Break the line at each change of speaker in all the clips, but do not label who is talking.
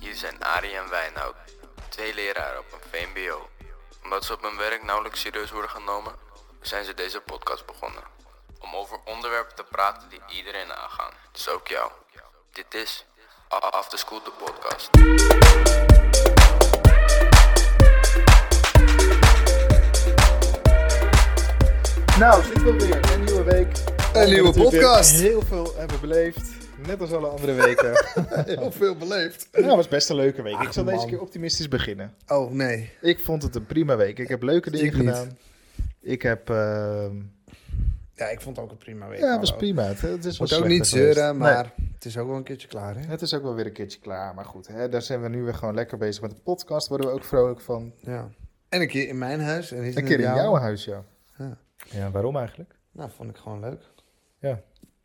Hier zijn Arie en Wijnhout, twee leraren op een VMBO. Omdat ze op hun werk nauwelijks serieus worden genomen, zijn ze deze podcast begonnen. Om over onderwerpen te praten die iedereen aangaan, dus ook jou. Dit is A- After School, de podcast.
Nou, zitten we weer. Een nieuwe week.
Een nieuwe
We natuurlijk
podcast.
weer Heel veel hebben beleefd. Net als alle andere weken.
Heel veel beleefd.
nou, het was best een leuke week. ik zal
man.
deze keer optimistisch beginnen.
Oh nee.
Ik vond het een prima week. Ik heb leuke dingen
Ik niet.
gedaan. Ik heb... ehm,
Ja, ik vond het ook een prima week.
ja, het was
hallo.
prima. Het, het is wel
Moet ook
slechter
niet
geweest.
zeuren,
Nee.
maar het is ook wel een keertje klaar, hè?
Het is ook wel weer een keertje klaar. Maar goed, hè, daar zijn we nu weer gewoon lekker bezig met de podcast. Worden we ook vrolijk van.
Ja. En een keer in mijn huis. En
Een keer in jouw huis, ja.
Ja.
Ja, waarom eigenlijk?
Nou, vond ik gewoon leuk.
Ja.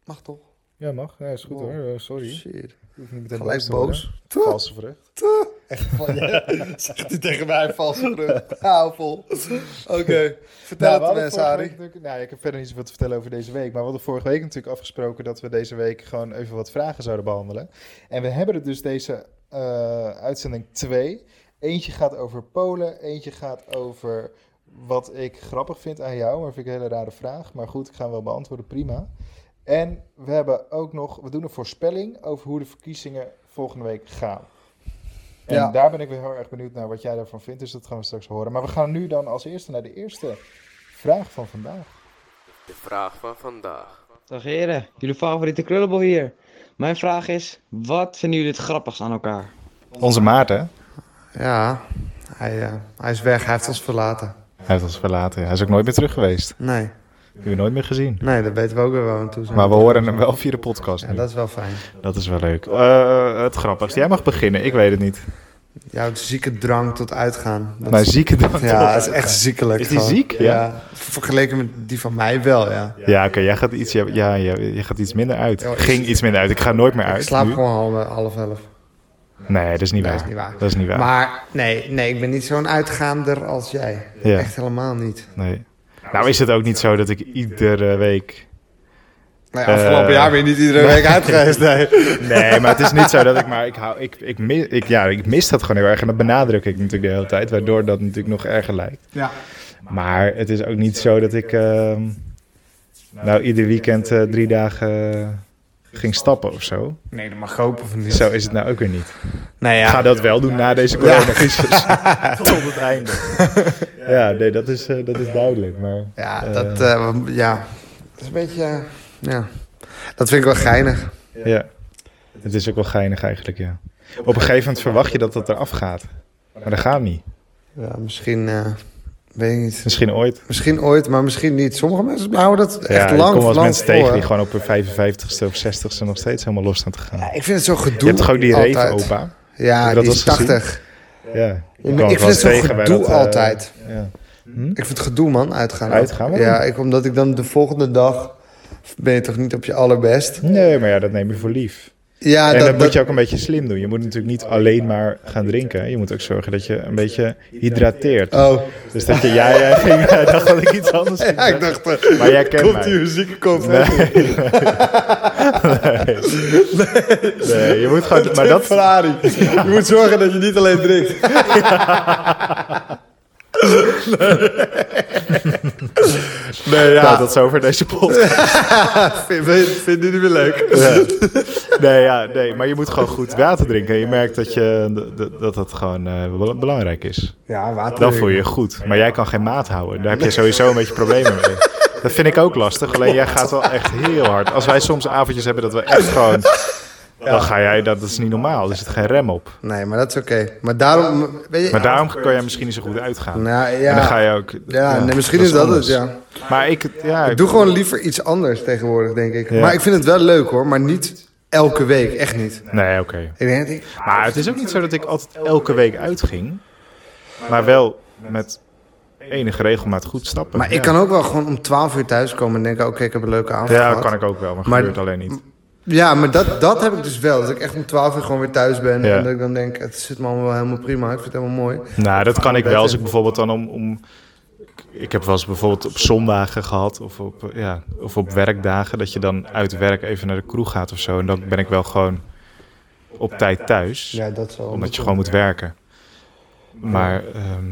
Mag toch?
Ja, mag. Ja, is goed
Wow.
hoor. Eh, sorry.
Shit.
Hoef niet meteen
Gelijk
te worden.
boos.
Valse vrucht.
Zegt hij tegen mij valse brug. Hou vol. Oké. Vertel
Nou,
het eh,
we
de mensen,
hadden vorige
Arie.
week natuurlijk- nou, ik heb verder niet zoveel te vertellen over deze week. Maar we hadden vorige week natuurlijk afgesproken dat we deze week gewoon even wat vragen zouden behandelen. En we hebben er dus deze eh, uitzending twee. Eentje gaat over Polen, eentje gaat over wat ik grappig vind aan jou. Maar vind ik een hele rare vraag. Maar goed, ik ga hem wel beantwoorden, prima. En we hebben ook nog, we doen een voorspelling over hoe de verkiezingen volgende week gaan. En
Ja.
daar ben ik weer heel erg benieuwd naar wat jij daarvan vindt. Dus dat gaan we straks horen. Maar we gaan nu dan als eerste naar de eerste vraag van vandaag.
De vraag van vandaag.
Dag heren, jullie favoriete krullenbol hier. Mijn vraag is, wat vinden jullie het grappigst aan elkaar?
Onze Maarten,
Ja. Hij, eh, hij is weg. Hij heeft ons verlaten.
hij heeft ons verlaten. Hij is ook nooit meer terug geweest.
Nee.
Hebben nooit meer gezien.
Nee, dat weten we ook weer waar we aan toe zijn.
we horen hem wel via de podcast
Ja, dat is wel fijn.
Dat is wel leuk. Eh, het grappigste. Jij mag beginnen, ik weet het niet.
Jouw zieke drang tot uitgaan. Dat
Mijn zieke dan.
Ja, het is echt ziekelijk.
Is die
gewoon.
ziek? Ja.
Vergeleken met die van mij wel, ja.
Ja, oké, jij gaat iets, ja, ja, ja, je gaat iets minder uit.
Ja, maar
Ging iets minder uit. Ik ga nooit meer
ik
uit.
slaap
nu.
gewoon half, half elf.
Nee, dat is niet
Nee,
waar.
is niet waar.
Dat is niet waar.
Maar nee, nee, ik ben niet zo'n uitgaander als jij.
Ja.
Echt helemaal niet.
Nee. Nou is het ook niet zo dat ik iedere week...
Nee,
Eh,
afgelopen jaar ben je niet iedere week uit geweest, nee.
Nee, maar het is niet zo dat ik... Maar ik, hou, ik, ik, mis, ik, ja, ik mis dat gewoon heel erg. En dat benadruk ik natuurlijk de hele tijd. Waardoor dat natuurlijk nog erger lijkt.
Ja.
Maar het is ook niet zo dat ik... ehm, nou, ieder weekend eh, drie dagen eh, ging stappen of zo.
Nee, dat mag ook of niet.
Zo is het nou ook weer niet.
Nee,
Ga
ja.
dat wel doen na deze coronacrisis. Tot het einde. Ja, nee, dat is, eh, dat is duidelijk. Maar
Ja,
Eh.
dat, eh, ja. dat is een beetje, eh, ja. Dat vind ik wel geinig.
ja, het is ook wel geinig eigenlijk, ja. Op een gegeven moment verwacht je dat dat eraf gaat. Maar dat gaat niet.
Ja, misschien, eh, weet ik niet.
Misschien ooit.
Misschien ooit, maar misschien niet. Sommige mensen houden dat echt
ja, ik
lang,
kom wel eens
lang
mensen
vol,
tegen
hè.
die gewoon op hun 55ste of 60ste nog steeds helemaal los staan te gaan.
Ja, ik vind het zo gedoe.
je hebt gewoon die
altijd.
reven opa.
Ja,
Heb je
die
dat
is
wel eens
80.
Ja,
Ja, maar ik vind het zo gedoe
eh,
altijd.
Ja. Hm?
Ik vind het gedoe, man, uitgaan.
Uitgaan, waarom?
Ja, ik, omdat ik dan de volgende dag... ben je toch niet op je allerbest?
Nee, maar ja, dat neem je voor lief.
Ja,
en dat, moet je ook een beetje slim doen. Je moet natuurlijk niet alleen maar gaan drinken. Je moet ook zorgen dat je een beetje hydrateert.
Oh,
Dus dat je, ja, jij ging, hij dacht dat ik iets anders ging
ja, ik
zeggen.
dacht... eh,
Maar jij kent
komt
mij.
die muziek, komt
Nee, nee. Nee, je moet gewoon, maar dat,
Je moet zorgen dat je niet alleen drinkt.
nee, ja. dat is over deze podcast.
vind, vind, vind je niet meer leuk?
Ja. Nee, ja, nee, maar je moet gewoon goed water drinken. En je merkt dat je, dat- dat, dat gewoon eh, bel- belangrijk is.
Ja, water
Dan voel je je goed. Maar jij kan geen maat houden. Daar heb je sowieso een beetje problemen mee. Dat vind ik ook lastig. Alleen jij gaat wel echt heel hard. Als wij soms avondjes hebben dat we echt gewoon... Dan ga jij, dat is niet normaal. Er zit geen rem op.
Nee, maar dat is oké. Maar daarom... Weet je,
Maar daarom kan jij misschien niet zo goed uitgaan.
Nou, ja.
En dan ga je ook...
Ja, nee, misschien is dat het,
anders.
ja.
Maar ik... Ja,
Ik doe gewoon liever iets anders tegenwoordig, denk ik.
Ja.
Maar ik vind het wel leuk, hoor. Maar niet elke week. Echt niet.
Nee, oké.
Ik denk dat ik...
Maar het is ook niet zo dat ik altijd elke week uitging. Maar wel met enige regelmaat goed stappen.
Maar ik
Ja.
kan ook wel gewoon om 12 uur thuis komen en denken: oké, ik heb een leuke avond.
Ja,
gehad.
dat kan ik ook wel, maar,
Maar-
gebeurt alleen niet.
Ja, maar dat, dat heb ik dus wel. Dat ik echt om 12 uur gewoon weer thuis ben.
Ja.
En dat ik dan denk: het zit me allemaal wel helemaal prima. Ik vind het helemaal mooi.
Nou, dat kan ik wel als ik bijvoorbeeld dan om... om ik heb wel eens bijvoorbeeld op zondagen gehad of op, ja, of op werkdagen... dat je dan uit werk even naar de kroeg gaat of zo. En dan ben ik wel gewoon
op tijd thuis.
Ja, dat zal.
Omdat eh, je gewoon moet werken. Maar ehm,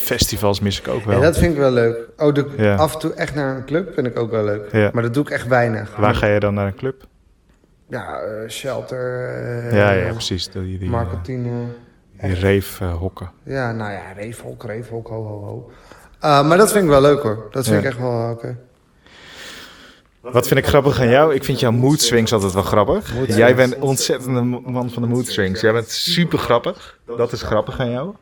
festivals mis ik ook
Ja,
wel.
dat vind ik wel leuk. Oh, de,
Ja.
af en toe echt naar een club vind ik ook wel leuk.
Ja.
Maar dat doe ik echt weinig.
Waar ga je dan naar een club?
Ja, eh, shelter, eh,
Ja, ja, precies. Die, die, die,
marketing. eh,
eh, die rave, eh, hokken.
ja, nou ja, reefhok, reefhok, ho, ho, ho. Eh, maar dat vind ik wel leuk hoor. Dat
Ja.
vind ik echt wel eh, oké.
Wat vind ik grappig aan jou? Ik vind jouw mood swings altijd wel grappig. Jij bent ontzettend een man van de mood swings. Jij bent super grappig. Dat is grappig aan jou.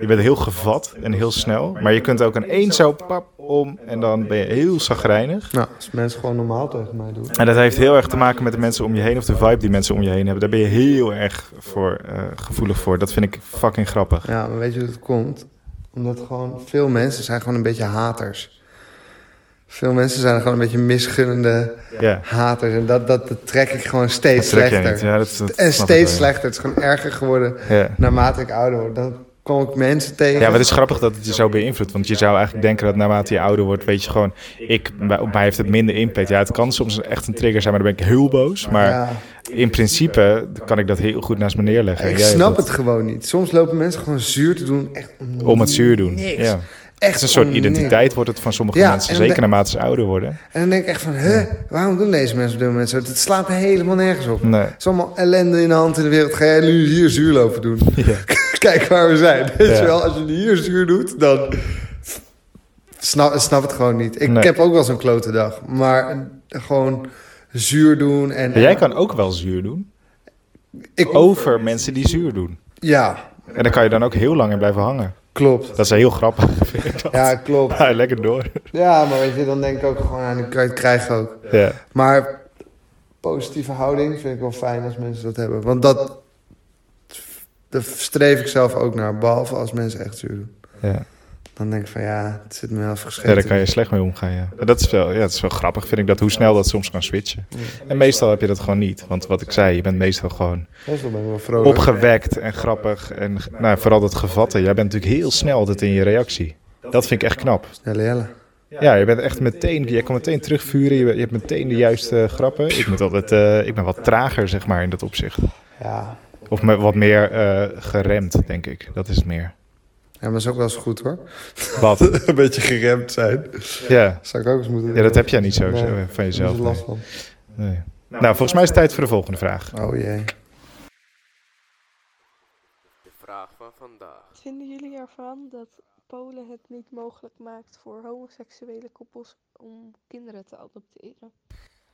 Je bent heel gevat en heel snel. Maar je kunt ook ineens zo pap om en dan ben je heel zagrijnig.
Nou, als mensen gewoon normaal tegen mij doen.
En dat heeft heel erg te maken met de mensen om je heen of de vibe die mensen om je heen hebben. Daar ben je heel erg voor, eh, gevoelig voor. Dat vind ik fucking grappig.
Ja, maar weet je hoe het komt? Omdat gewoon veel mensen zijn gewoon een beetje haters. Veel mensen zijn gewoon een beetje misgunnende
Ja,
haters. En dat, dat, dat trek ik gewoon steeds
dat trek jij
slechter.
niet. Ja, dat, dat
En
snap ik
steeds
wel, ja.
slechter. Het is gewoon erger geworden
Ja.
naarmate ik ouder word. Dan kom ik mensen tegen.
Ja, maar het is grappig dat het je zo beïnvloedt. Want je zou eigenlijk denken dat naarmate je ouder wordt, weet je gewoon, ik, op mij heeft het minder impact. Ja, het kan soms echt een trigger zijn, maar dan ben ik heel boos. Maar
Ja.
in principe kan ik dat heel goed naast me neerleggen.
ik
Jij
snap
dat
het gewoon niet. Soms lopen mensen gewoon zuur te doen. Echt om
Om het zuur doen.
Niks.
Ja.
Echt
Het is een soort
om niks.
identiteit wordt het van sommige
Ja,
mensen,
en
zeker
de-
naarmate ze ouder worden.
En dan denk ik echt van, huh, waarom doen deze mensen op dit moment zo? Het slaat helemaal nergens op.
Nee.
Het is allemaal ellende in de hand in de wereld. Ga jij nu hier zuur lopen doen? Kijk waar we zijn. Weet
Ja.
je wel, als je hier zuur doet, dan... Snap, snap het gewoon niet. Ik
Nee.
heb ook wel zo'n klote dag. Maar gewoon zuur doen en...
Maar jij kan ook wel zuur doen
Ik,
over mensen die zuur doen.
Ja,
En daar kan je dan ook heel lang in blijven hangen.
klopt.
Dat is heel grappig, vind ik dat.
Ja, klopt.
Ja, lekker door.
Ja, maar weet je, dan denk ik ook gewoon aan... Ik krijg ook.
Ja.
Maar positieve houding vind ik wel fijn als mensen dat hebben. Want dat, daar streef ik zelf ook naar. Behalve als mensen echt zuur doen.
Ja.
Dan denk ik van ja, het zit me wel afgeschreven.
Ja, daar kan je slecht mee omgaan, ja. Maar Dat is wel, ja, dat is wel grappig, vind ik, dat hoe snel dat soms kan switchen. En meestal heb je dat gewoon niet. Want wat ik zei, je bent meestal gewoon
Meestal ben ik wel vrolijk.
opgewekt en grappig. En nou, vooral dat gevatten. Jij bent natuurlijk heel snel altijd in je reactie. Dat vind ik echt knap.
Jelle, jelle.
Ja, je bent echt meteen, je kan meteen terugvuren. Je, je hebt meteen de juiste grappen. Ik, moet altijd, eh, ik ben wat trager, zeg maar, in dat opzicht.
Ja.
Of me, wat meer eh, geremd, denk ik. Dat is het meer.
ja, maar dat is ook wel eens goed hoor.
Wat?
Een beetje geremd zijn.
Ja.
Zou ik ook eens moeten doen.
ja, dat heb jij niet zo
Nee.
zo, van
Daar heb
jezelf.
ik last van.
nee. Nee. Nou, volgens mij is het tijd voor de volgende vraag.
Oh jee.
De vraag van vandaag.
Wat vinden jullie ervan dat Polen het niet mogelijk maakt voor homoseksuele koppels om kinderen te adopteren?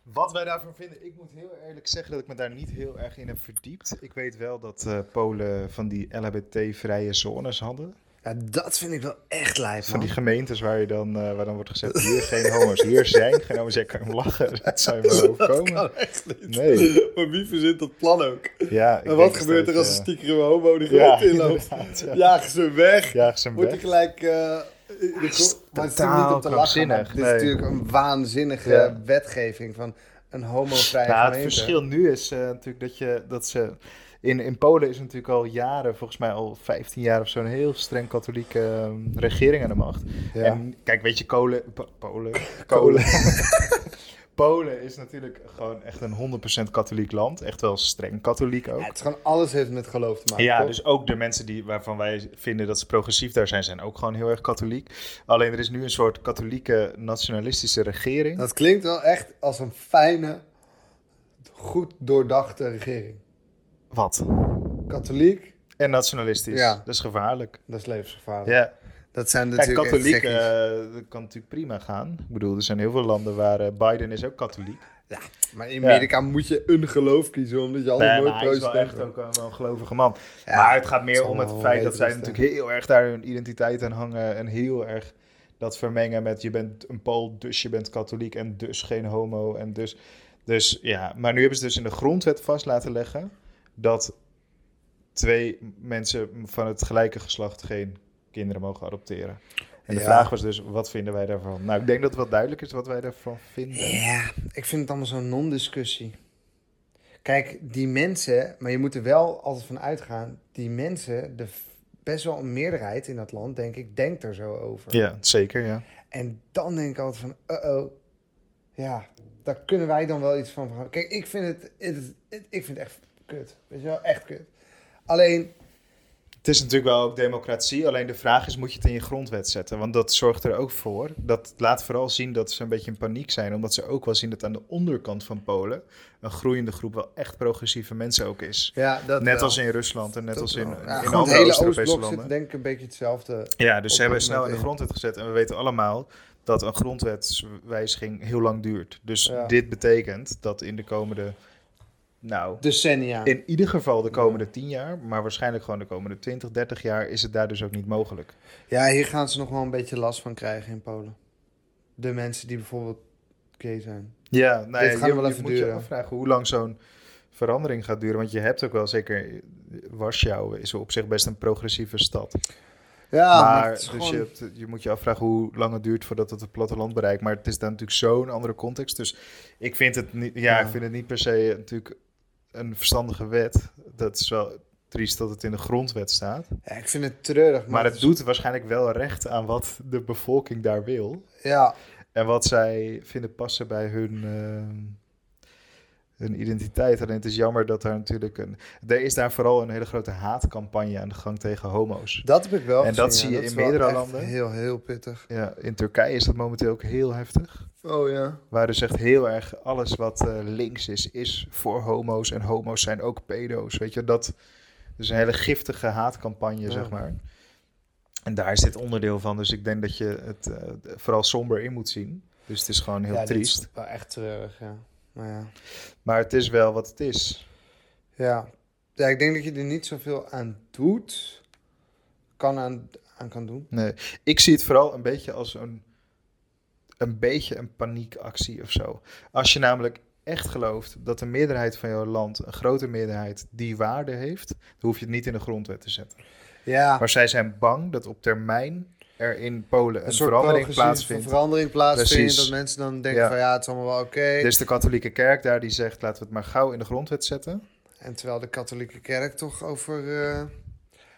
Wat wij daarvan vinden, ik moet heel eerlijk zeggen dat ik me daar niet heel erg in heb verdiept. Ik weet wel dat eh, Polen van die LHBT-vrije zones hadden.
Ja, dat vind ik wel echt lijf
Van
man.
die gemeentes waar, je dan, eh, waar dan wordt gezegd, hier geen homo's, hier zijn geen homo's. Jij kan hem lachen, dat zou je wel overkomen.
echt niet.
Nee,
Maar wie verzint dat plan ook?
ja. ik
en
denk
wat gebeurt
dat,
er als
eh,
een stiekere homo de
ja,
grond inloopt?
inderdaad, ja.
Jagen ze weg.
Jaag ze hem
Wordt
weg.
hij gelijk. eh in de gro- maar het is natuurlijk niet
totaal
om te lachen. maar
krankzinnig,
Dit is
nee.
natuurlijk een waanzinnige
Ja.
wetgeving van een homovrije
Nou, het
gemeente.
verschil nu is eh, natuurlijk dat, je, dat ze... In, in Polen is natuurlijk al jaren, volgens mij al 15 jaar of zo, een heel streng katholieke eh, regering aan de macht.
Ja.
En kijk, weet je, Kolen... Po- Polen? Kolen. Polen is natuurlijk gewoon echt een 100% katholiek land. Echt wel streng katholiek ook.
Ja, het is gewoon alles heeft met geloof te maken.
Ja,
toch?
dus ook de mensen die, waarvan wij vinden dat ze progressief daar zijn, zijn ook gewoon heel erg katholiek. Alleen er is nu een soort katholieke nationalistische regering.
Dat klinkt wel echt als een fijne, goed doordachte regering.
Wat?
Katholiek,
En nationalistisch.
Ja.
Dat is gevaarlijk.
dat is levensgevaarlijk.
Ja.
Dat zijn
Kijk,
natuurlijk echt
katholiek
gekkies.
eh, dat kan natuurlijk prima gaan. Ik bedoel, er zijn heel veel landen waar eh, Biden is ook katholiek.
maar in Amerika moet je een geloof kiezen, omdat je anders
eh, Nee,
nooit
maar hij is wel
president
echt
wordt.
ook eh, wel een gelovige man.
Ja,
maar het gaat meer
zal
om het
wel
feit dat
weten
zij
dus, hè.
natuurlijk heel erg daar hun identiteit aan hangen. En heel erg dat vermengen met je bent een Pool, dus je bent katholiek en dus geen homo. En dus, dus ja, maar nu hebben ze dus in de grondwet vast laten leggen dat twee mensen van het gelijke geslacht geen kinderen mogen adopteren. En de
Ja.
vraag was dus, wat vinden wij daarvan? Nou, ik denk dat het wel duidelijk is wat wij daarvan vinden.
Ja, ik vind het allemaal zo'n non-discussie. Kijk, die mensen, maar je moet er wel altijd van uitgaan, die mensen, de f- best wel een meerderheid in dat land, denk ik, denkt er zo over.
Ja, zeker, ja.
En dan denk ik altijd van, uh-oh, ja, daar kunnen wij dan wel iets van. gaan- Kijk, ik vind het, het, het- ik vind het echt kut. Weet je wel, echt kut. Alleen,
Het is natuurlijk wel ook democratie, alleen de vraag is, moet je het in je grondwet zetten? Want dat zorgt er ook voor. Dat laat vooral zien dat ze een beetje in paniek zijn, omdat ze ook wel zien dat aan de onderkant van Polen een groeiende groep wel echt progressieve mensen ook is.
ja, dat eh,
net
wel.
als in Rusland en net
Dat
als in, eh,
wel.
in
Ja, gewoon
andere
het hele
Oost-Europese
Oostblok
landen.
zit denk ik een beetje hetzelfde.
Ja, dus
op
ze hebben
dit
snel in de
moment
grondwet gezet. En we weten allemaal dat een grondwetswijziging heel lang duurt. Dus
Ja.
dit betekent dat in de komende... Nou,
Decennia.
in ieder geval de komende 10 jaar, maar waarschijnlijk gewoon de komende 20, 30 jaar is het daar dus ook niet mogelijk.
Ja, hier gaan ze nog wel een beetje last van krijgen in Polen. De mensen die bijvoorbeeld gay zijn.
Ja, nou
Dit
ja,
gaat
je,
wel
je
even
moet je
duren.
afvragen hoe lang zo'n verandering gaat duren. Want je hebt ook wel zeker... Warschau is op zich best een progressieve stad.
Ja, Ah, maar,
maar
het is
dus
gewoon-
je, hebt- je moet je afvragen hoe lang het duurt voordat het het platteland bereikt. Maar het is daar natuurlijk zo'n andere context. Dus ik vind het niet, ja,
Ja.
Ik vind het niet per se natuurlijk een verstandige wet. Dat is wel triest dat het in de grondwet staat.
Ja, ik vind het treurig. Maar,
Maar
het
het doet waarschijnlijk wel recht aan wat de bevolking daar wil.
is- Ja,
En wat zij vinden passen bij hun, eh, hun identiteit. Alleen het is jammer dat daar natuurlijk een. Er is daar vooral een hele grote haatcampagne aan de gang tegen homo's.
dat heb ik wel
En dat
gezien,
zie
ja.
je in
is wel
meerdere
echt
landen.
heel, heel pittig.
Ja, in Turkije is dat momenteel ook heel heftig.
Oh ja.
Waar dus echt heel erg alles wat eh, links is, is voor homo's. En homo's zijn ook pedo's. Weet je, dat is een hele giftige haatcampagne,
Ja.
zeg maar. En daar is dit onderdeel van. Dus ik denk dat je het eh, vooral somber in moet zien. Dus het is gewoon heel
ja, dit is
triest.
wel echt treurig, ja. Maar ja.
Maar het is wel wat het is.
Ja. ja, ik denk dat je er niet zoveel aan doet. Kan aan, aan kan doen.
Nee. Ik zie het vooral een beetje als een, een beetje een paniekactie of zo. Als je namelijk echt gelooft dat de meerderheid van jouw land, een grote meerderheid, die waarde heeft, dan hoef je het niet in de grondwet te zetten.
Ja,
Maar zij zijn bang dat op termijn er in Polen een,
een soort
verandering
progressieve
plaatsvindt.
verandering plaatsvindt.
Precies.
Dat mensen dan denken
Ja.
van ja, het is allemaal wel oké.
Dus de katholieke kerk daar die zegt, laten we het maar gauw in de grondwet zetten.
En terwijl de katholieke kerk toch over eh,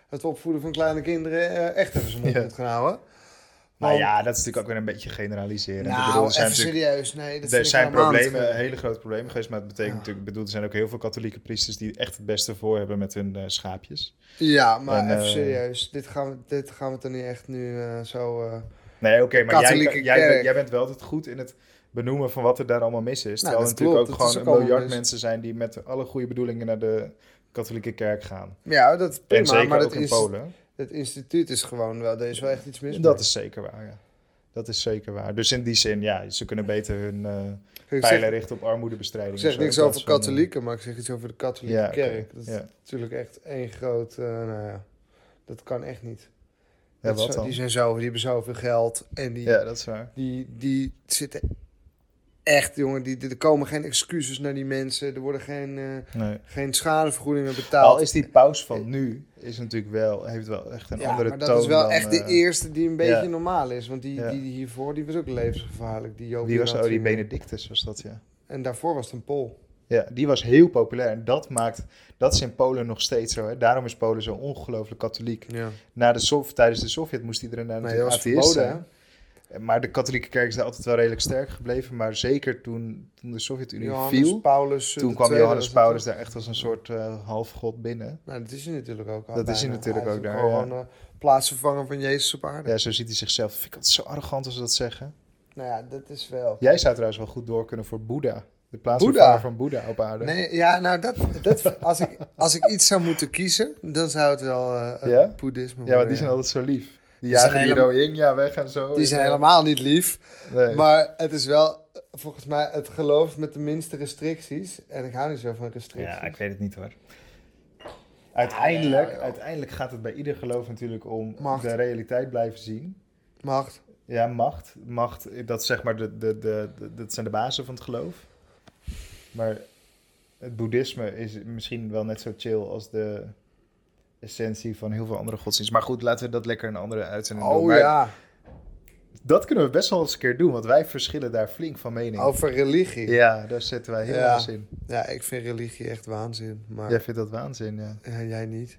het opvoeden van kleine kinderen eh, echt even zijn mond
Ja.
moet gaan houden.
Maar
Want-
Nou ja, dat is natuurlijk ook weer een beetje generaliseren. Ik
Nou,
bedoel, er
even
zijn natuurlijk-
serieus. Nee, dat
Er
vind ik
zijn
helemaal niet
problemen,
goed.
hele grote problemen geweest, maar het betekent
Ja.
natuurlijk, ik bedoel, er zijn ook heel veel katholieke priesters die echt het beste voor hebben met hun eh, schaapjes.
Ja, maar
En,
even
eh,
serieus. Dit gaan, we, dit gaan we toch niet echt nu eh, zo... eh,
Nee, oké,
De
maar jij,
katholieke
jij, jij,
kerk.
bent- jij bent wel altijd goed in het benoemen van wat er daar allemaal mis is.
Nou,
terwijl er
dat
natuurlijk
klopt,
ook
dat is
gewoon een
ook allemaal
miljard
mis.
mensen zijn die met alle goede bedoelingen naar de katholieke kerk gaan.
ja, dat is prima.
en zeker
maar
ook
dat
in
is,
Polen.
het instituut is gewoon wel... Er is wel echt iets mis
Dat is zeker waar, ja. Dat is zeker waar. Dus in die zin, ja, ze kunnen beter hun eh
mee. Ik
pijlen
zeg,
richten op armoedebestrijding.
ik
of
zeg
zo, in
niks
plaats
over
van, eh,
katholieken, maar ik zeg iets over de katholieke
Ja, oké,
kerk. Dat is
ja.
natuurlijk echt één groot... eh, nou ja, dat kan echt niet.
Ja,
Dat
wat
zo-
dan?
Die zijn zo, die hebben zoveel geld. En die,
Ja, dat is waar.
die, die zitten echt, jongen. Die, die- er komen geen excuses naar die mensen. Er worden geen, eh,
Nee.
geen schadevergoedingen betaald.
Al is die paus van nu, is natuurlijk wel, heeft wel echt een
ja,
andere
maar dat
toon
is wel
dan,
echt de
eh,
eerste die een beetje
ja.
normaal is. Want die,
Ja.
die, die hiervoor, die was ook levensgevaarlijk. Die Joop
Wie was dat?
dat
Oh, die Benedictus was dat, ja.
En daarvoor was het een Pool.
Ja, die was heel populair en dat maakt, dat is in Polen nog steeds zo. Hè. Daarom is Polen zo ongelooflijk katholiek.
Ja.
Na de Sov- tijdens de Sovjet moest iedereen daar
Nee, dat
natuurlijk
was
atheïst
verboden,
zijn. Maar de katholieke kerk is daar altijd wel redelijk sterk gebleven. Maar zeker toen, toen de
hè?
Sovjet-Unie
Johannes
viel,
Paulus. eh,
toen
de
kwam
tweede
Johannes
was het,
Paulus
hè?
daar echt als een soort eh, halfgod binnen.
Nou, dat is hij natuurlijk ook al
Dat is hij
bijna.
natuurlijk
Hij
ook
is
daar,
Gewoon eh, plaatsvervanger van Jezus op aarde.
Ja, zo ziet hij zichzelf. Vind ik altijd zo arrogant als ze dat zeggen.
Nou ja, dat is wel...
Jij zou trouwens wel goed door kunnen voor Boeddha. De
Boeddha?
plaatsvervanger van Boeddha op aarde.
Nee, ja, nou, dat, dat, als, ik, als ik iets zou moeten kiezen, dan zou het wel eh, het
Ja?
boeddhisme
Ja,
worden,
want die zijn altijd zo lief. Die
Die zijn
jagen die
helemaal-
Rohingya weg en zo.
Die zijn helemaal niet lief,
Nee.
maar het is wel eh, volgens mij het geloof met de minste restricties. En ik hou niet zo van restricties.
Ja, ik weet het niet hoor. Uiteindelijk, uiteindelijk gaat het bij ieder geloof natuurlijk om
Macht.
de realiteit blijven zien.
Macht.
Ja, macht. Macht, dat, is zeg maar de, de, de, de- dat zijn de bazen van het geloof. Maar het boeddhisme is misschien wel net zo chill als de essentie van heel veel andere godsdiensten. Maar goed, laten we dat lekker een andere uitzending doen.
Oh
Maar
ja,
Dat kunnen we best wel eens een keer doen, want wij verschillen daar flink van mening.
over religie. Ja.
Ja, daar zitten wij heel
Oh, Ja.
anders in.
ik vind religie echt waanzin, maar
Jij vindt dat waanzin, ja.
ja, jij niet. Eh,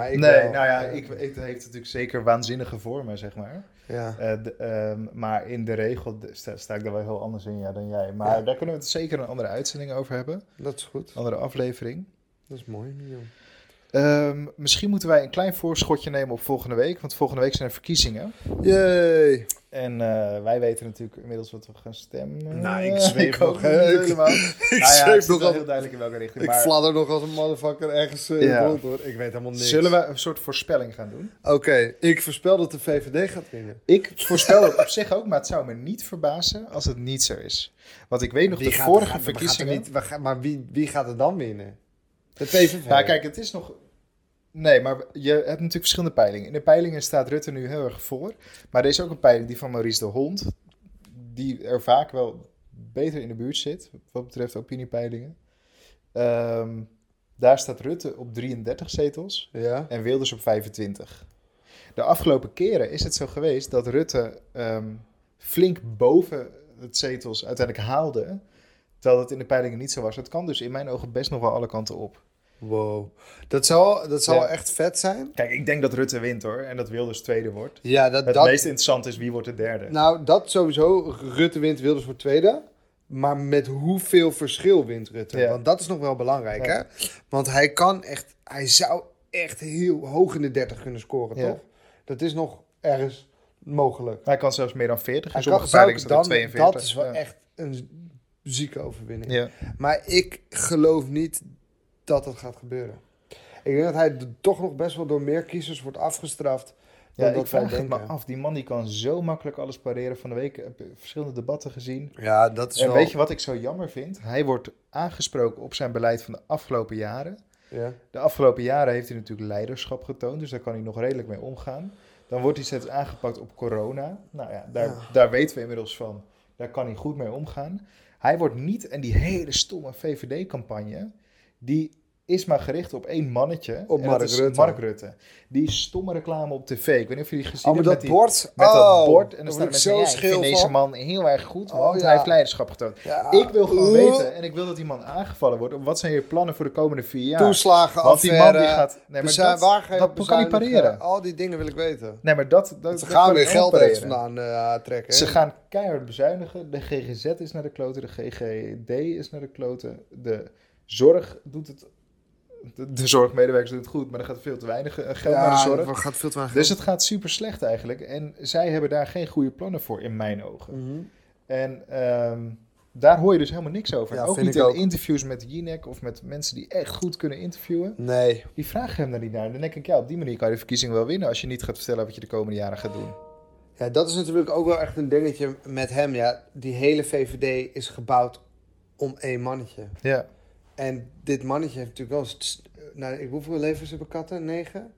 Maar ik
nee,
wel.
nou ja,
Eh,
ik, het heeft natuurlijk zeker waanzinnige vormen, zeg maar.
Ja.
Eh, d- ehm, maar in de regel d- sta, sta ik daar wel heel anders in ja, dan jij. Maar
Ja.
daar kunnen we het zeker een andere uitzending over hebben.
Dat is goed.
Een andere aflevering.
Dat is mooi, Mion.
Ehm, misschien moeten wij een klein voorschotje nemen op volgende week. Want volgende week zijn er verkiezingen.
Yay!
En eh, wij weten natuurlijk inmiddels wat we gaan stemmen.
Nou, ik zweef
Ik ook
nog.
niet helemaal.
Ik
Nou ja, het
zweef
is
nog
wel
al.
heel duidelijk in welke richting.
Ik
Maar
fladder nog als een motherfucker ergens eh, in
Ja.
het rond, hoor. Ik weet helemaal niks.
zullen we een soort voorspelling gaan doen?
Oké, ik voorspel dat de VVD gaat winnen.
Ik voorspel het op zich ook, maar het zou me niet verbazen als het niet zo is. Want ik weet nog
Wie
de
gaat-
vorige
gaat- we gaan er
verkiezingen...
niet- we gaan- maar wie, wie gaat er dan winnen? De PVV.
Nou, kijk, het is nog. Nee, maar je hebt natuurlijk verschillende peilingen. In de peilingen staat Rutte nu heel erg voor. Maar er is ook een peiling, die van Maurice de Hond. Die er vaak wel beter in de buurt zit. Wat betreft opiniepeilingen. Ehm, daar staat Rutte op 33 zetels.
Ja.
En Wilders op 25. De afgelopen keren is het zo geweest dat Rutte ehm, flink boven het zetels uiteindelijk haalde. Terwijl dat in de peilingen niet zo was. Dat kan dus in mijn ogen best nog wel alle kanten op.
Wow. Dat zou, dat zou
Ja.
echt vet zijn.
Kijk, ik denk dat Rutte wint hoor. En dat Wilders tweede wordt.
Ja, dat,
Het
dat,
meest interessante is wie wordt de derde.
Nou, dat sowieso. Rutte wint Wilders voor tweede. Maar met hoeveel verschil wint Rutte?
Ja.
Want dat is nog wel belangrijk,
Ja.
hè? Want hij kan echt... Hij zou echt heel hoog in de 30 kunnen scoren,
Ja.
toch? Dat is nog ergens mogelijk.
hij kan zelfs meer dan 40.
Hij
In sommige
kan, zou
peilingen
ik
staat er 42.
dan, dat is wel
Ja.
echt een zieke overwinning.
Ja.
Maar ik geloof niet dat dat gaat gebeuren. Ik denk dat hij d- toch nog best wel door meer kiezers wordt afgestraft dan
Ja,
dat
ik
wij
vraag het me
denken.
af. Die man die kan zo makkelijk alles pareren. Van de week heb ik verschillende debatten gezien.
Ja, dat is
En
wel...
weet je wat ik zo jammer vind? Hij wordt aangesproken op zijn beleid van de afgelopen jaren.
Ja.
De afgelopen jaren heeft hij natuurlijk leiderschap getoond. Dus daar kan hij nog redelijk mee omgaan. Dan wordt hij steeds aangepakt op corona. Nou ja, daar,
Ja.
daar weten we inmiddels van. Daar kan hij goed mee omgaan. Hij wordt niet, en die hele stomme VVD-campagne, die is maar gericht op één mannetje.
Op
en
Mark
dat is
Rutte.
Mark Rutte. Die stomme reclame op tv. Ik weet niet of jullie gezien
Oh, maar
hebben
dat
met, die,
bord?
met
oh,
dat bord. En
daar
dan staan
word ik
mensen, ja, ik vind deze
van.
man heel erg goed,
Oh,
want
ja. Ah.
hij heeft leiderschap getoond.
Ja.
Ik wil gewoon
Oeh.
weten, en ik wil dat die man aangevallen wordt, op wat zijn je plannen voor de komende vier jaar?
Toeslagen,
Want die man die gaat. Nee, maar
Bezuin,
dat,
dus waar ga je
dat kan niet
bezuinigen?
pareren.
Al die dingen wil ik weten.
Nee, maar dat. dat,
Ze
dat
gaan
kan
weer
je
geld
wel
ergens
pareren.
vandaan eh, trekken. hè?
Ze gaan keihard bezuinigen. De GGZ is naar de kloten. De GGD is naar de kloten. De zorg doet het. De, de zorgmedewerkers doen het goed, maar er gaat veel te weinig eh, geld naar de
ja,
zorg.
er gaat veel te weinig
Dus
geld.
het gaat super slecht eigenlijk. En zij hebben daar geen goede plannen voor, in mijn ogen.
Mhm.
En ehm, daar hoor je dus helemaal niks over.
Ja,
ook
vind
niet
ik
in
ook.
interviews met Jinek of met mensen die echt goed kunnen interviewen.
Nee.
Die vragen hem daar niet naar. En dan denk ik, ja, op die manier kan je de verkiezingen wel winnen als je niet gaat vertellen wat je de komende jaren gaat doen.
Ja, dat is natuurlijk ook wel echt een dingetje met hem. Ja. Die hele VVD is gebouwd om één mannetje.
Ja.
En dit mannetje heeft natuurlijk wel... st- Nou, ik- hoeveel levens hebben katten? Negen?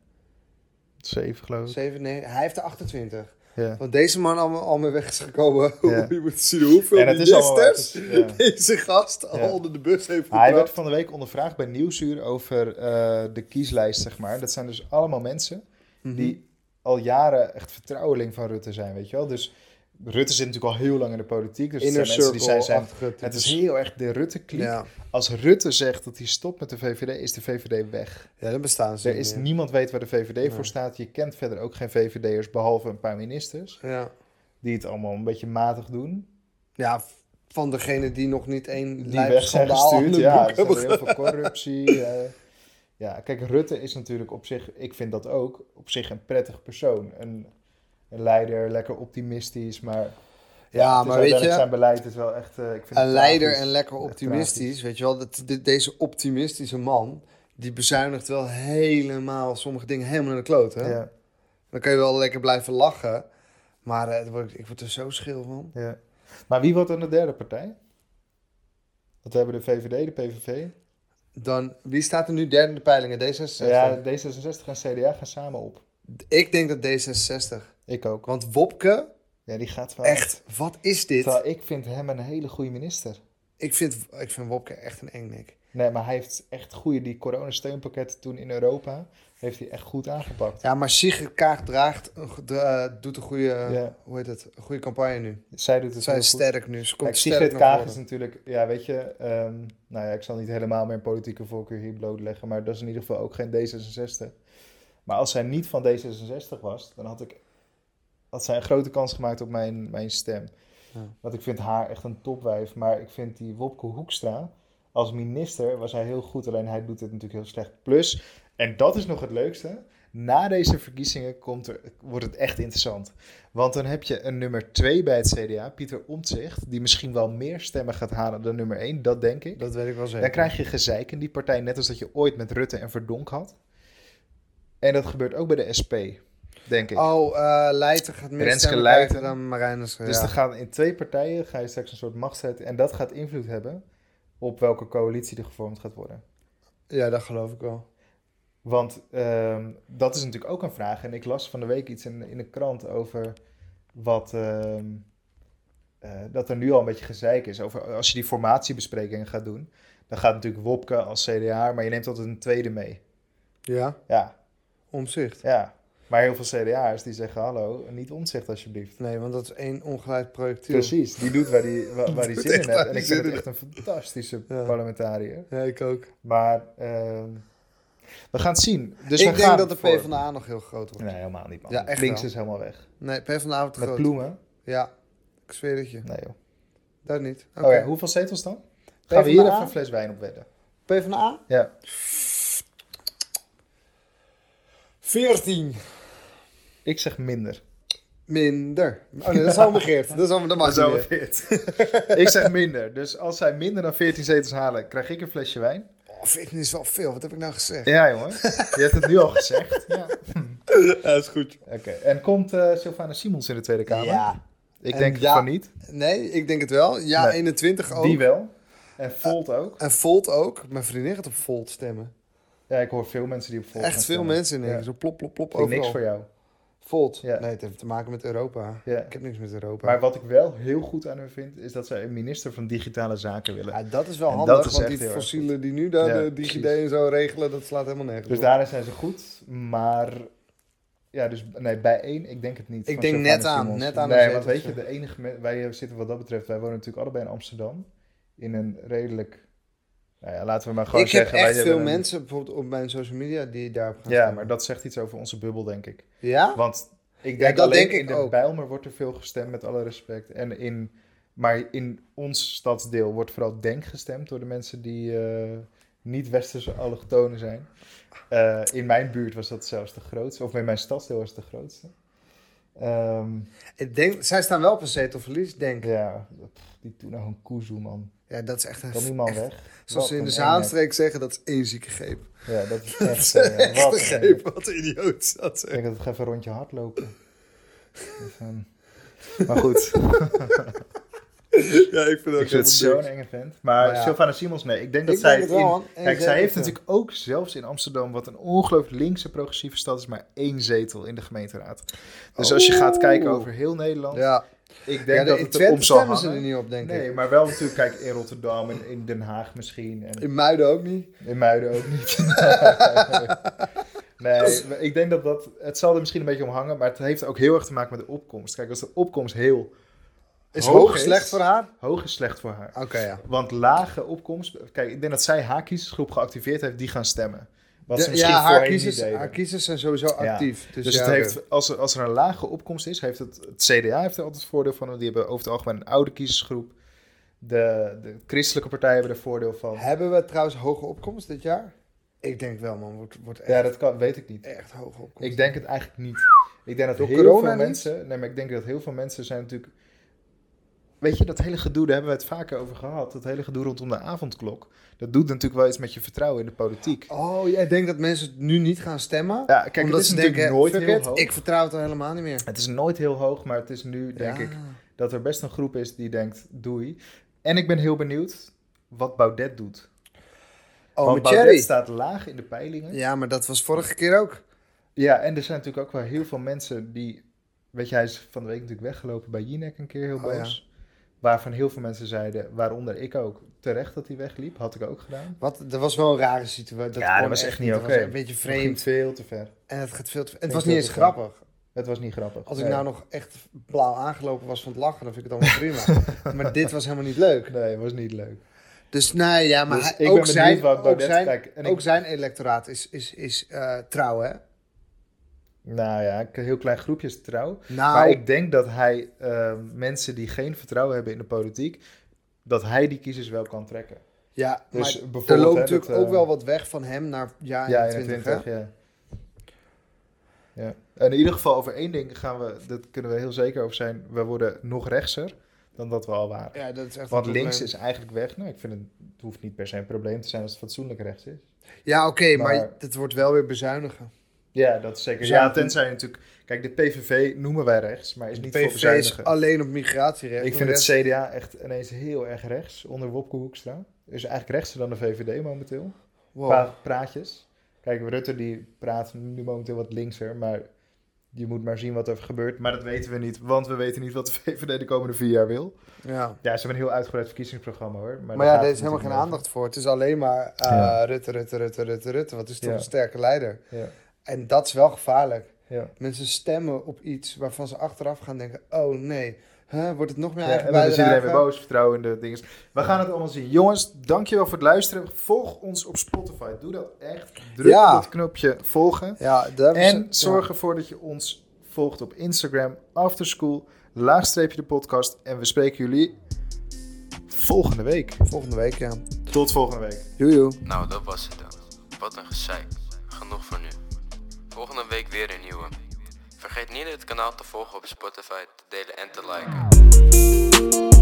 Zeven, geloof
Zeven? Nee, hij heeft er 28.
Ja.
Want deze man allemaal al mee weg is gekomen.
Ja.
Je moet zien hoeveel
En het is allemaal-
ministers
het is- ja.
deze gast
Ja.
al onder de bus heeft
Ah, Hij werd
gebracht.
van de week ondervraagd bij Nieuwsuur over eh, de kieslijst, zeg maar. Dat zijn dus allemaal mensen
Mhm.
die al jaren echt vertrouweling van Rutte zijn, weet je wel. Dus Rutte zit natuurlijk al heel lang in de politiek. Dus het
Inner
zijn mensen die zijn, zijn
circle-achtige
het is
types.
heel erg de Rutte-kliek.
Ja.
Als Rutte zegt dat hij stopt met de VVD, is de VVD weg.
ja, dan bestaan ze
Er
niet
is,
meer.
niemand weet waar de VVD voor staat. Je kent verder ook geen VVD'ers, behalve een paar ministers.
Ja.
die het allemaal een beetje matig doen.
ja, van degene die nog niet één
Die
lijp
weg zijn
schandaal aan
gestuurd.
hun
Ja,
broek
er is
hebben
heel veel corruptie. eh. ja, kijk, Rutte is natuurlijk op zich, ik vind dat ook, op zich een prettig persoon. Een, een leider, lekker optimistisch, maar...
Ja,
het is
maar weet
uiteindelijk
je,
Zijn beleid is wel echt... eh, ik vind
Een
het
leider
tragisch.
en lekker
Echt
optimistisch, weet je wel. Dat, dit- deze optimistische man, die bezuinigt wel helemaal sommige dingen helemaal naar de kloot, hè?
tragisch. Ja,
Dan kun je wel lekker blijven lachen. Maar eh, het wordt- ik word er zo schil van.
ja. Maar wie wordt dan de derde partij? Want we hebben de VVD, de PVV.
Dan, wie staat er nu derde in de peilingen? D66?
Ja, D66 en CDA gaan samen op.
Ik denk dat D66.
Ik ook.
Want Wopke,
Ja, die gaat wel.
echt, wat is dit?
Terwijl ik vind hem een hele goede minister.
Ik vind, ik vind Wopke echt een engnek.
Nee, maar hij heeft echt goede, die coronasteunpakketten toen in Europa, heeft hij echt goed aangepakt.
Ja, maar Sigrid Kaag draagt, een go- dra- eh, doet een goede,
Ja.
hoe heet het, een goede campagne nu.
Zij doet het
Zij
heel
is
goed.
sterk nu, ze komt
Kijk,
sterk
Sigrid
naar
Kaag
voren.
is natuurlijk, ja weet je, ehm, nou ja, ik zal niet helemaal mijn politieke voorkeur hier blootleggen, maar dat is in ieder geval ook geen D66. Maar als zij niet van D66 was, dan had, ik, had zij een grote kans gemaakt op mijn, mijn stem.
Ja.
Want ik vind haar echt een topwijf. Maar ik vind die Wopke Hoekstra, als minister was hij heel goed. Alleen hij doet het natuurlijk heel slecht. Plus, en dat is nog het leukste. Na deze verkiezingen komt er, wordt het echt interessant. Want dan heb je een nummer 2 bij het CDA, Pieter Omtzigt, die misschien wel meer stemmen gaat halen dan nummer 1, dat denk ik.
Dat weet ik wel zeker.
Dan krijg je gezeik in die partij, net als dat je ooit met Rutte en Verdonk had. En dat gebeurt ook bij de SP, denk ik.
Oh, eh Leijten gaat meer
Renske
stemmen
Leijten.
krijgen dan Marijnissen.
dus
ja.
dan gaan in twee partijen ga je straks een soort machtsstrijd en dat gaat invloed hebben op welke coalitie er gevormd gaat worden.
ja, dat geloof ik wel.
Want ehm, dat is natuurlijk ook een vraag. En ik las van de week iets in, in de krant over wat. ehm, eh, dat er nu al een beetje gezeik is over als je die formatiebesprekingen gaat doen. Dan gaat natuurlijk Wopke als CDA, maar je neemt altijd een tweede mee.
Ja,
Ja,
omzicht.
ja. Maar heel veel CDA's die zeggen: Hallo, niet ontzicht alsjeblieft.
Nee, want dat is één ongeleid projectiel.
Precies, die doet waar die, waar, waar die
Doet
zin in
echt
heeft.
waar
En
die
ik vind
zin
het
in
echt een fantastische
Ja.
parlementariër.
Ja, ik ook.
Dus Maar ehm, we gaan het zien. Dus
ik
we
denk
gaan
dat de
voor-
PvdA nog heel groot wordt.
Nee, helemaal niet. Man.
Ja, echt
Links
wel.
is helemaal weg.
Nee, PvdA wordt
Met
groot.
bloemen?
Ja, ik zweer het je.
Nee joh.
Daar niet. Oké.
Oké, hoeveel zetels dan? Gaan we hier
PvdA?
even een fles wijn op wedden?
PvdA?
Ja.
14.
Ik zeg minder.
Minder. Oh nee, dat is al begeerd. Dat is al dat mag niet meer.
ik zeg minder. Dus als zij minder dan 14 zetels halen, krijg ik een flesje wijn?
Oh, 14 is wel veel. Wat heb ik nou gezegd?
Ja jongen, je hebt het nu al gezegd. Ja. Oké,
dat is goed.
en komt eh Sylvana Simons in de Tweede Kamer?
Ja.
Ik
En
denk
ja.
van niet.
Nee, ik denk het wel. Ja,
Nee.
21 ook.
Die wel. En Volt ook.
En Volt ook. Mijn vriendin gaat op Volt stemmen.
Ja, ik hoor veel mensen die op Volt gaan
Echt veel
stemmen.
mensen in één
Ja.
keer. Zo plop, plop, plop
Ik vind
overal.
niks voor jou.
Volt.
Ja.
Nee, het heeft te maken met Europa.
Ja.
Ik heb niks met Europa.
Maar wat ik wel heel goed aan hun vind, is dat zij een minister van Digitale Zaken willen.
ja, dat is wel
En
handig,
dat is
want
echt
die
heel erg
fossielen die nu daar
Ja,
de DigiD
precies.
en zo regelen, dat slaat helemaal nergens
Dus
op.
daarin zijn ze goed, maar... Ja, dus nee, bij één, ik denk het niet.
Ik
Van
denk
Sylvana
net aan,
Simons.
net aan
Nee,
een
want weet je,
zeteltje.
de enige... me- Wij zitten wat dat betreft, wij wonen natuurlijk allebei in Amsterdam. In een redelijk... Nou ja, laten we maar gewoon
ik heb
zeggen... wij
echt veel
hebben een-
mensen bijvoorbeeld op mijn social media die daarop gaan
Ja,
stemmen.
maar dat zegt iets over onze bubbel, denk ik.
Ja?
Want ik denk
dat
alleen
denk ik
in de
ook.
Bijlmer wordt er veel gestemd, met alle respect. En in, maar in ons stadsdeel wordt vooral denk gestemd door de mensen die eh, niet westerse allochtonen zijn. Eh, in mijn buurt was dat zelfs de grootste, of in mijn stadsdeel was het de grootste. Ehm,
Ik denk, zij staan wel op een zetelverlies, denk ik.
ja, pff, die toen nog een koezoe, man.
Ja, dat is echt een...
Kan niemand
echt-
weg.
Zoals
Wat
ze in
een
de
enge.
Zaanstreek zeggen, dat is één zieke greep.
Ja, dat is
Dat is
echt... eh,
echt
wat een
een
enge.
greep. Wat een idioot is dat
Ik
zeg.
denk dat we gaan even een rondje hardlopen. Even- Maar goed.
Ja, ik vind dat
Ik vind het zo'n
zo.
enge vent. Maar,
Maar ja.
Sylvana Simons, nee. Ik denk dat
Ik
zij...
denk het wel,
in-
man. Eén
Kijk, zij heeft
zeteltje.
natuurlijk ook zelfs in Amsterdam... wat een ongelooflijk linkse progressieve stad is... maar één zetel in de gemeenteraad. Dus als je gaat kijken over heel Nederland...
Ja,
ik denk
ja de,
dat
in
het erom
Twente
zal
stemmen ze er
hangen.
niet op, denk
Nee,
ik.
maar wel natuurlijk, kijk, in Rotterdam en in Den Haag misschien. En
In Muiden ook niet.
in Muiden ook niet. nee, maar ik denk dat dat... Het zal er misschien een beetje om hangen... maar het heeft ook heel erg te maken met de opkomst. Kijk, als de opkomst heel
Is
Hoog
hoog
is-
slecht voor haar?
hoog is, slecht voor haar.
Oké, ja.
Want lage opkomst. Kijk, ik denk dat zij haar kiezersgroep geactiveerd heeft, die gaan stemmen. Wat ze
De-
misschien
ja, haar
voorheen niet
kiezers,
deden.
haar kiezers zijn sowieso actief. Dus,
Dus
ja,
het
oké.
heeft, als, er, als er een lage opkomst is, heeft het, het CDA heeft er altijd voordeel van. want Die hebben over het algemeen een oude kiezersgroep. De, de christelijke partijen hebben er voordeel van.
Hebben we trouwens hoge opkomst dit jaar? Ik denk wel, man. Wordt, wordt echt,
Ja, dat kan, weet ik niet.
echt hoge opkomst.
Ik denk het eigenlijk niet. Ik denk dat
Door
heel
corona
veel
niet?
mensen. Nee, maar ik denk dat heel veel mensen zijn natuurlijk. Weet je, dat hele gedoe, daar hebben we het vaker over gehad. Dat hele gedoe rondom de avondklok. Dat doet natuurlijk wel iets met je vertrouwen in de politiek.
Oh, jij denkt dat mensen nu niet gaan stemmen?
Ja, kijk,
omdat
het is
ze
natuurlijk
denken,
nooit
fuck
heel
it,
hoog.
ik vertrouw het al helemaal niet meer.
Het is nooit heel hoog, maar het is nu, denk
Ja. Oh,
ik, dat er best een groep is die denkt, doei. En ik ben heel benieuwd wat Baudet doet.
Oh,
Want
met
Baudet
Thierry.
staat laag in de peilingen. Ja.
Ja, maar dat was vorige keer ook.
en er zijn natuurlijk ook wel heel veel mensen die... Weet je, hij is van de week natuurlijk weggelopen bij Jinek een keer heel
Oh,
boos. Waarvan heel veel mensen zeiden, waaronder ik ook, terecht dat hij wegliep. Had ik ook gedaan.
Wat, dat was wel een rare situatie. Dat
Ja, dat
kon
was echt niet
Dat was
oké.
Een beetje
Het ging
vreemd.
veel te ver.
En het gaat veel te... Het
Ging
was
veel
niet eens
te ver.
grappig.
Het was niet grappig.
Als ik
Nee.
nou nog echt blauw aangelopen was van het lachen, dan vind ik het allemaal prima. maar dit was helemaal niet leuk.
Nee, het was niet leuk.
Dus nee, ja, maar
Dus
hij-
ik ben
ook,
benieuwd
zijn,
wat
ook,
Baudet-
zijn,
kijk, en ik-
ook zijn electoraat is, is, is eh, trouw, hè?
Nou ja, een heel klein groepje is trouw.
Nou,
Maar ik denk dat hij eh, mensen die geen vertrouwen hebben in de politiek, dat hij die kiezers wel kan trekken.
ja,
Dus
maar
bijvoorbeeld,
er loopt
hè,
natuurlijk
dat, eh,
ook wel wat weg van hem naar ja,
Ja,
21.
21, ja. ja. En in ieder geval over één ding gaan we, dat kunnen we heel zeker over zijn, we worden nog rechtser dan dat we al waren.
hè? Ja, dat is echt
Want
een probleem.
links is eigenlijk weg. Nou, ik vind het, het hoeft niet per se een probleem te zijn als het fatsoenlijk rechts is.
Ja, oké, maar
Maar-
het wordt wel weer bezuinigen.
Ja, dat is
Dus
zeker. Ja, tenzij je natuurlijk... Kijk, de PVV noemen wij rechts, maar is niet voor
PVV is
bezuinigen.
alleen op migratierecht.
Ik
Voor
vind
de
het
rest-
CDA echt ineens heel erg rechts, onder Wopke Hoekstra. Dus eigenlijk rechtser dan de VVD momenteel.
Wow.
Qua praatjes. Kijk, Rutte die praat nu momenteel wat linkser, maar je moet maar zien wat er gebeurt. Maar dat weten we niet, want we weten niet wat de VVD de komende vier jaar wil.
Ja.
Ja, ze hebben een heel uitgebreid verkiezingsprogramma hoor. Maar,
Maar,
daar
ja,
gaat
daar
het
is helemaal geen
natuurlijk
aandacht voor. Het is alleen maar eh,
Ja.
Rutte, Rutte, Rutte, Rutte, Rutte. Wat is toch
Ja.
een sterke leider.
niet over.
En dat is wel gevaarlijk.
Ja, ja.
Mensen stemmen op iets waarvan ze achteraf gaan denken... Oh nee, Huh, wordt het nog meer
Ja,
eigen
en dan is iedereen weer
bijdrage?
boos, vertrouwen in de dingen. We gaan het allemaal zien. Jongens, dankjewel voor het luisteren. Volg ons op Spotify. Doe dat echt. Druk
Ja.
op dat knopje volgen.
Ja, daar
En zorg ervoor dat je ons volgt op Instagram, afterschool, laagstreepje de podcast. En we spreken jullie volgende week.
volgende week, ja.
Tot volgende week.
Joe, joe.
Nou, dat was het dan. Wat een gezeik. Genoeg voor nu. Volgende week weer een nieuwe. Vergeet niet het kanaal te volgen op Spotify, te delen en te liken.